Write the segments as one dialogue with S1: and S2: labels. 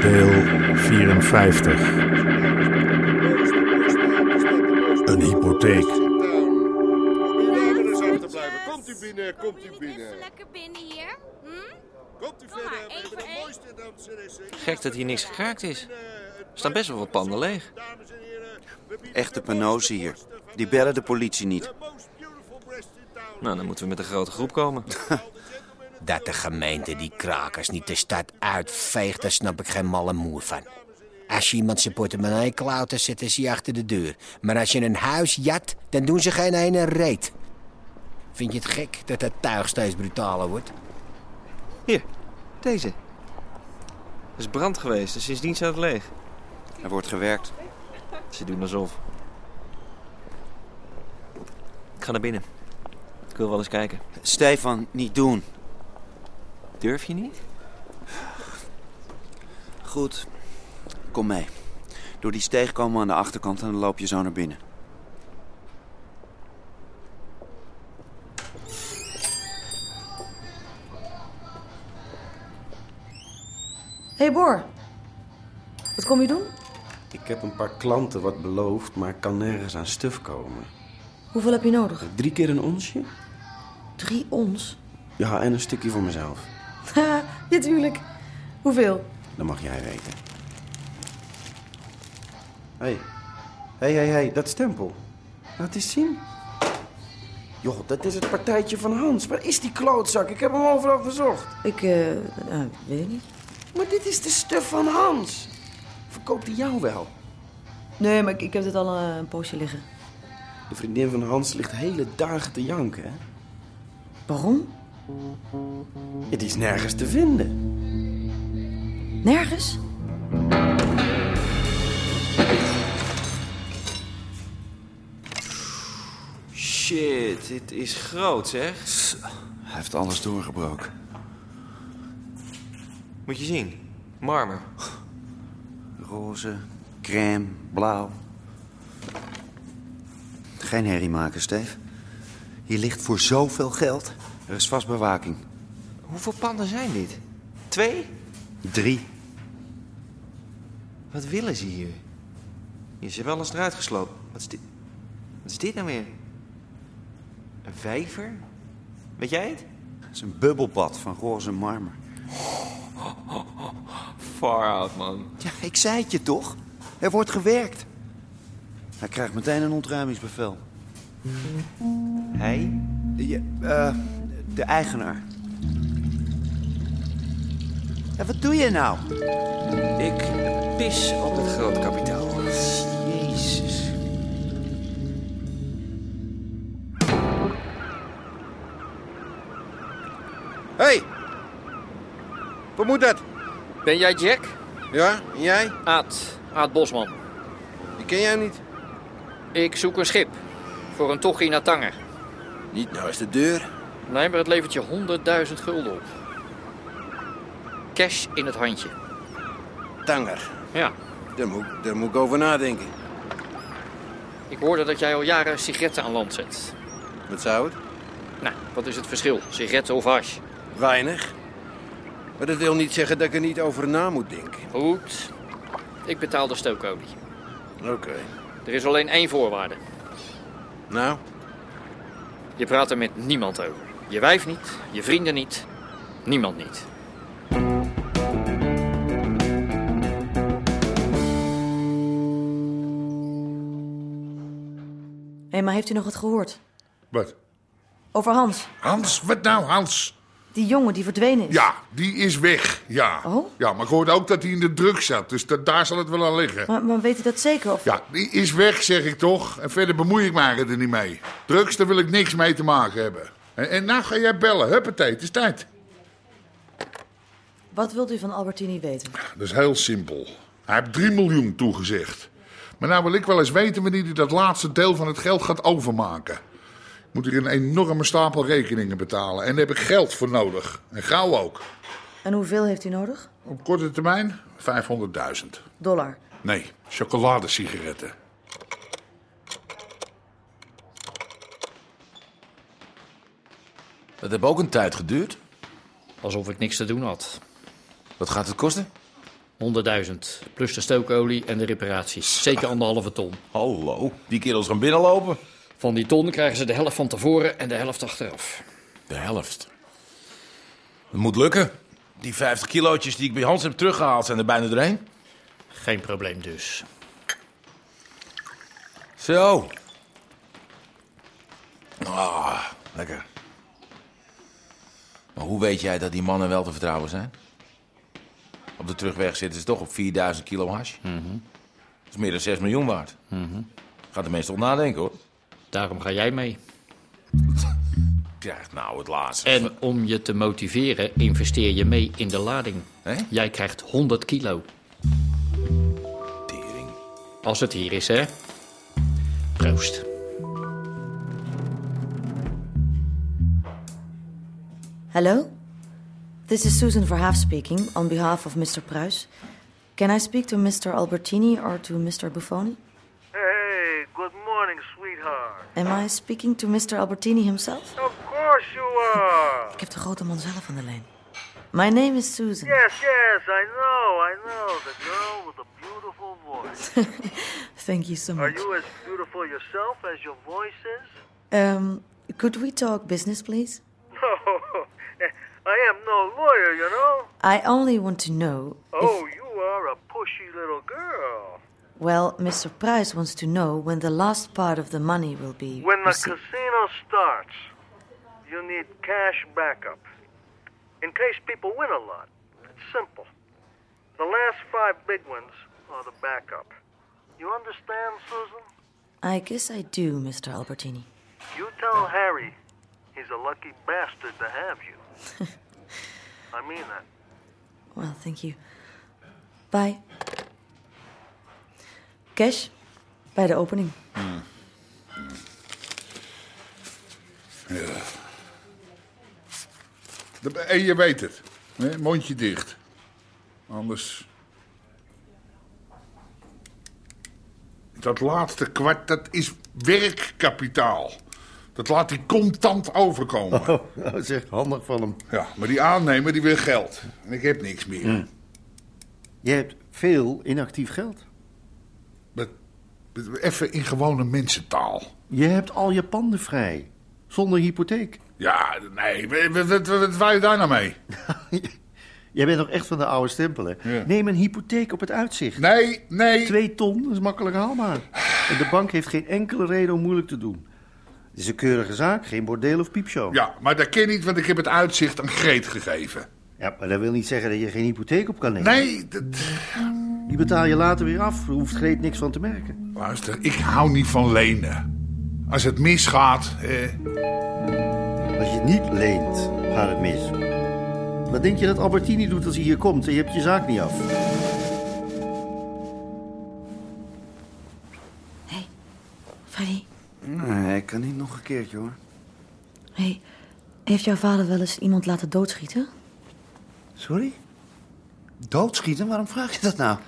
S1: Deel 54. Een hypotheek.
S2: Komt u binnen, komt u binnen.
S3: Even lekker binnen hier. Hm?
S2: Komt u
S3: Kom maar,
S2: verder. We
S3: één
S2: hebben
S3: voor
S2: de
S3: één.
S2: mooiste dames en heren.
S4: Gek dat hier niks geraakt is.
S2: Eh, het
S4: Er staan best wel wat panden leeg.
S2: Dames en heren, we bieden
S5: Echte
S2: de mooiste
S5: penozen hier.
S2: borsten van
S5: Die bellen de politie niet.
S2: The most beautiful breast in town.
S4: Nou, dan moeten we met een grote groep komen.
S2: All the gentlemen and
S6: Dat de gemeente die krakers niet de stad uitveegt, daar snap ik geen malle moer van. Als je iemand zijn portemonnee klauwt, dan zitten ze je achter de deur. Maar als je een huis jat, dan doen ze geen ene reet. Vind je het gek dat dat tuig steeds brutaler wordt?
S4: Hier, deze. Er is brand geweest en sindsdien staat het leeg.
S5: Er wordt gewerkt.
S4: Ze doen alsof. Ik ga naar binnen. Ik wil wel eens kijken.
S5: Stefan, niet doen.
S4: Durf je niet?
S5: Goed. Kom mee. Door die steeg komen we aan de achterkant en dan loop je zo naar binnen.
S7: Hé hey Boor, wat kom je doen?
S8: Ik heb een paar klanten wat beloofd, maar kan nergens aan stuf komen.
S7: Hoeveel heb je nodig?
S8: Drie keer een onsje?
S7: Drie ons?
S8: Ja, en een stukje voor mezelf.
S7: Ha, natuurlijk. Hoeveel?
S8: Dat mag jij weten. Hé, hé, hé, hé, dat stempel. Laat eens zien. Joh, dat is het partijtje van Hans. Waar is die klootzak? Ik heb hem overal verzocht.
S7: Ik, eh, nou, weet ik niet.
S8: Maar dit is de stuf van Hans. Verkoopt hij jou wel?
S7: Nee, maar ik, ik heb dit al eh, een poosje liggen.
S8: De vriendin van Hans ligt hele dagen te janken, hè?
S7: Waarom?
S8: Het is nergens te vinden.
S7: Nergens?
S4: Shit, dit is groot zeg.
S5: Hij heeft alles doorgebroken.
S4: Moet je zien. Marmer.
S5: Roze, crème, blauw. Geen herrie maken, Steve. Hier ligt voor zoveel geld. Er is vast bewaking.
S4: Hoeveel panden zijn dit? Twee?
S5: Drie.
S4: Wat willen ze hier? Je ze hebben alles eruit gesloopt. Wat is dit? Wat is dit nou weer? Een vijver? Weet jij het?
S5: Het is een bubbelbad van roze marmer.
S4: Far out, man.
S5: Ja, ik zei het je toch? Er wordt gewerkt. Hij krijgt meteen een ontruimingsbevel.
S4: Hij?
S5: Je, eh, de eigenaar. Ja, wat doe je nou?
S4: Ik pis op het groot kapitaal.
S5: Jezus.
S2: Hé! Hey. Wat moet dat?
S9: Ben jij Jack?
S2: Ja, en jij?
S9: Aad, Aad Bosman.
S2: Die ken jij niet?
S9: Ik zoek een schip. Voor een tochtje naar Tanger.
S2: Niet naast de deur.
S9: Nee, maar het levert je 100.000 gulden op. Cash in het handje.
S2: Tanger.
S9: Ja,
S2: Daar moet, ik- daar moet ik over nadenken.
S9: ik hoorde dat jij al jaren sigaretten aan land zet.
S2: Wat zou het?
S9: Nou, wat is het verschil? Sigaretten of hash?
S2: Weinig. Maar dat wil niet zeggen dat ik er niet over na moet denken.
S9: Goed. Ik betaal de stookolie.
S2: Oké.
S9: Er is alleen één voorwaarde.
S2: Nou,
S9: Je praat er met niemand over. Je wijf niet, je vrienden niet, niemand niet.
S7: Hé, maar heeft u nog wat gehoord?
S10: Wat?
S7: Over Hans.
S10: Hans, wat nou, Hans?
S7: Die jongen die verdwenen is.
S10: Ja, die is weg, ja.
S7: Oh?
S10: Ja, maar ik hoorde ook dat hij in de druk zat, dus da- daar zal het wel aan liggen.
S7: Maar, maar weet u dat zeker? Of...
S10: Ja, die is weg, zeg ik toch. En verder bemoei ik mij er niet mee. Drugs, daar wil ik niks mee te maken hebben. En, en nou ga jij bellen. Huppatee, het is tijd.
S7: Wat wilt u van Albertini weten?
S10: Dat is heel simpel. Hij heeft 3 miljoen toegezegd. Maar nou wil ik wel eens weten wanneer hij dat laatste deel van het geld gaat overmaken. Ik moet hier een enorme stapel rekeningen betalen. En daar heb ik geld voor nodig. En gauw ook.
S7: En hoeveel heeft u nodig?
S10: Op korte termijn 500.000.
S7: Dollar.
S10: Nee, chocoladesigaretten.
S11: Dat heeft ook een tijd geduurd.
S9: Alsof ik niks te doen had.
S11: Wat gaat het kosten?
S9: 100.000. Plus de stookolie en de reparaties. Zeker anderhalve ton.
S11: Hallo, die kerels gaan binnenlopen.
S9: Van die ton krijgen ze de helft van tevoren en de helft achteraf.
S11: De helft. Dat moet lukken. Die 50 kilootjes die ik bij Hans heb teruggehaald zijn er bijna doorheen.
S9: Geen probleem dus.
S11: Zo. Ah, lekker. Maar hoe weet jij dat die mannen wel te vertrouwen zijn? Op de terugweg zitten ze toch op 4000 kilo hash. Dat is meer dan 6 miljoen waard. Gaat de mensen toch nadenken, hoor.
S9: Daarom ga jij mee.
S11: Ja, nou, het laatste.
S9: En om je te motiveren, investeer je mee in de lading. Jij krijgt 100 kilo.
S11: Tering.
S9: Als het hier is, hè? Proost.
S7: Hello? This is Susan Verhaaf speaking on behalf of Mr. Pruis. Can I speak to Mr. Albertini or to Mr. Buffoni?
S12: Hey, good morning, sweetheart.
S7: Am I speaking to Mr. Albertini himself?
S12: Of course you are.
S7: Ik heb de grote man zelf aan de lijn. My name is Susan.
S12: Yes, yes, I know, I know. The girl with the beautiful voice.
S7: Thank you so
S12: Are
S7: much.
S12: you as beautiful yourself as your voice is?
S7: Um, could we talk business, please?
S12: No, I am no lawyer, you know.
S7: I only want to know.
S12: Oh, you are a pushy little girl.
S7: Well, Mr. Price wants to know when the last part of the money will be.
S12: When the
S7: received.
S12: casino starts, you need cash backup. In case people win a lot, it's simple. The last five big ones are the backup. You understand, Susan?
S7: I guess I do, Mr. Albertini.
S12: You tell Harry he's a lucky bastard to have you. I mean that.
S7: Well, thank you. Bye. Cash, bij de opening.
S10: Ja. De- En je weet het. hè, Mondje dicht. Anders. Dat laatste kwart, dat is werkkapitaal. Dat laat hij contant overkomen.
S13: Oh, dat is echt handig van hem.
S10: Ja, maar die aannemer die wil geld. En ik heb niks meer.
S13: Mm. Je hebt veel inactief geld.
S10: Even in gewone mensentaal.
S13: Je hebt al je panden vrij. Zonder hypotheek.
S10: Ja, nee, w- w- wat, wat, wat wou je daar nou mee?
S13: Jij bent nog echt van de oude stempel, hè? Neem een hypotheek op het uitzicht.
S10: Nee, nee.
S13: Twee ton is makkelijk haalbaar. En de bank heeft geen enkele reden om moeilijk te doen. Het is een keurige zaak, geen bordeel of piepshow.
S10: Ja, maar dat ken niet, want ik heb het uitzicht aan Greet gegeven.
S13: Ja, maar dat wil niet zeggen dat je geen hypotheek op kan nemen.
S10: Nee, dat...
S13: Die betaal je later weer af. Daar hoeft Greet niks van te merken.
S10: Luister, ik hou niet van lenen. Als het misgaat, eh,
S13: Als je niet leent, gaat het mis. Wat denk je dat Albertini doet als hij hier komt en je hebt je zaak niet af?
S7: Freddy,
S5: Nee, ik kan niet nog een keertje hoor.
S7: hey, heeft jouw vader wel eens iemand laten doodschieten?
S5: Sorry? Doodschieten? Waarom vraag je dat nou?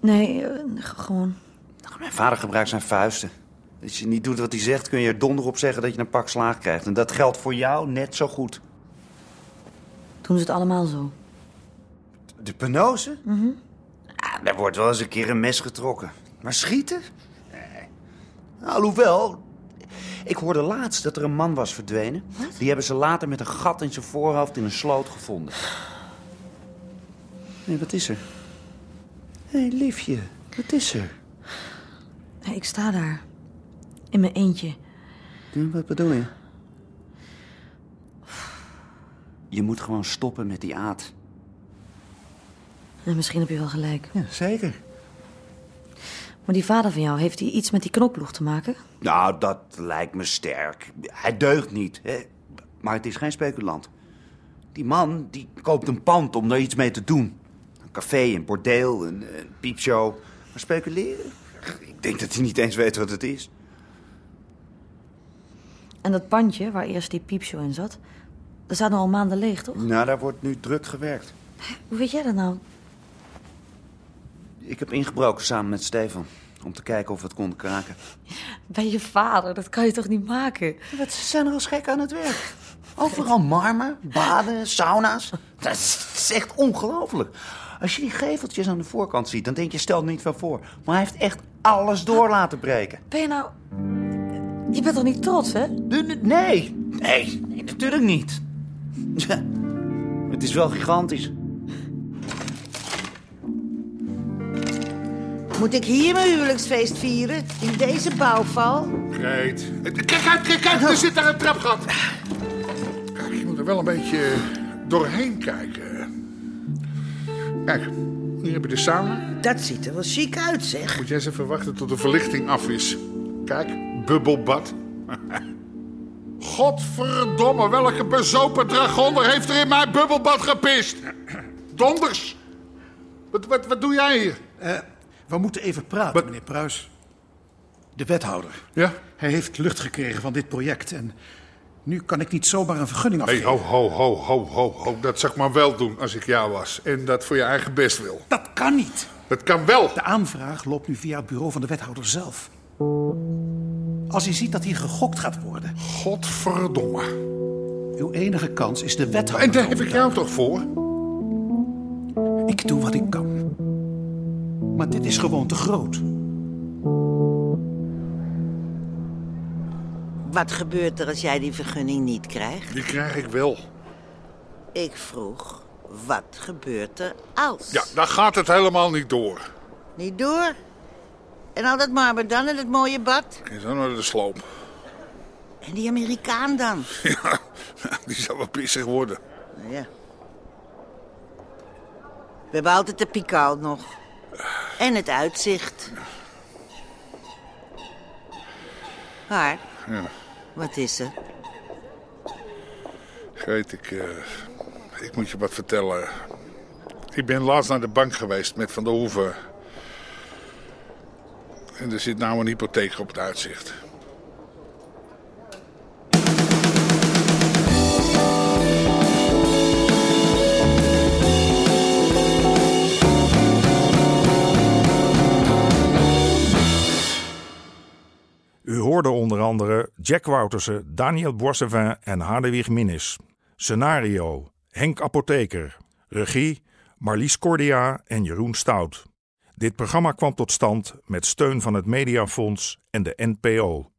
S7: Nee, eh, g- gewoon.
S5: Nou, Mijn vader gebruikt zijn vuisten. Als je niet doet wat hij zegt, kun je er donder op zeggen dat je een pak slaag krijgt. En dat geldt voor jou net zo goed.
S7: Doen ze het allemaal zo?
S5: De penose?
S7: Mhm.
S5: Ah, daar wordt wel eens een keer een mes getrokken. Maar schieten? Nee. Nou, Alhoewel, ik hoorde laatst dat er een man was verdwenen. Die hebben ze later met een gat in zijn voorhoofd in een sloot gevonden. Nee, wat is er? Hé, hey, liefje, wat is er?
S7: Hey, ik sta daar. In mijn eentje.
S5: Wat bedoel je? Je moet gewoon stoppen met die aad.
S7: En misschien heb je wel gelijk.
S5: Ja, zeker.
S7: Maar die vader van jou, heeft hij iets met die knokploeg te maken?
S5: Nou, dat lijkt me sterk. Hij deugt niet. Hè? Maar het is geen speculant. Die man die koopt een pand om daar iets mee te doen. Een café, een bordeel, een, een piepshow. Maar speculeren? Ik denk dat hij niet eens weet wat het is.
S7: En dat pandje waar eerst die piepshow in zat, dat staat nog al maanden leeg, toch?
S5: Nou, daar wordt nu druk gewerkt.
S7: Hoe weet jij dat nou?
S5: Ik heb ingebroken samen met Stefan. Om te kijken of we het konden kraken.
S7: Bij je vader, dat kan je toch niet maken?
S5: Wat ze zijn er als gek aan het werk. Overal marmer, baden, sauna's. Dat is, dat is echt ongelooflijk. Als je die geveltjes aan de voorkant ziet, dan denk je stel er niet van voor. Maar hij heeft echt alles door laten breken.
S7: Ben je nou... Je bent toch niet trots, hè?
S5: Nee, nee, nee, natuurlijk niet. Ja, het is wel gigantisch.
S14: Moet ik hier mijn huwelijksfeest vieren? In deze bouwval?
S10: Greet. Kijk uit, kijk uit, er zit daar een trapgat. Kijk, je moet er wel een beetje doorheen kijken. Kijk, hier heb je de sauna.
S14: Dat ziet er wel chic uit, zeg.
S10: Moet jij eens even wachten tot de verlichting af is. Kijk, bubbelbad. Godverdomme, welke bezopen dragonder heeft er in mijn bubbelbad gepist? Donders! Wat, wat, wat doe jij hier?
S15: We moeten even praten, meneer Pruis. De wethouder.
S10: Ja?
S15: Hij heeft lucht gekregen van dit project en nu kan ik niet zomaar een vergunning
S10: Hey,
S15: afgeven.
S10: ho, ho, ho, ho, ho, ho. Dat zou ik maar wel doen als ik jou was. En dat voor je eigen best wil.
S15: Dat kan niet.
S10: Dat kan wel.
S15: De aanvraag loopt nu via het bureau van de wethouder zelf. Als hij ziet dat hier gegokt gaat worden.
S10: Godverdomme.
S15: Uw enige kans is de wethouder.
S10: En daar heb ik jou toch voor?
S15: Ik doe wat ik kan. Maar dit is gewoon te groot.
S14: Wat gebeurt er als jij die vergunning niet krijgt?
S10: Die krijg ik wel.
S14: Ik vroeg, wat gebeurt er als?
S10: Ja, dan gaat het helemaal niet door.
S14: Niet door? En al dat marmer dan en dat mooie bad?
S10: En zo naar nou de sloop.
S14: En die Amerikaan dan?
S10: Ja, die zou wel pissig worden.
S14: Nou ja. We hebben altijd de pikaal nog. En het uitzicht. Maar,
S10: Ja,
S14: wat is er?
S10: Greet, ik, eh, ik moet je wat vertellen. Ik ben laatst naar de bank geweest met Van der Hoeven. En er zit nou een hypotheek op het uitzicht.
S1: U hoorde onder andere Jack Woutersen, Daniel Boissevin en Hadewig Minnis. Scenario: Henk Apotheker. Regie: Marlies Cordia en Jeroen Stout. Dit programma kwam tot stand met steun van het Mediafonds en de NPO.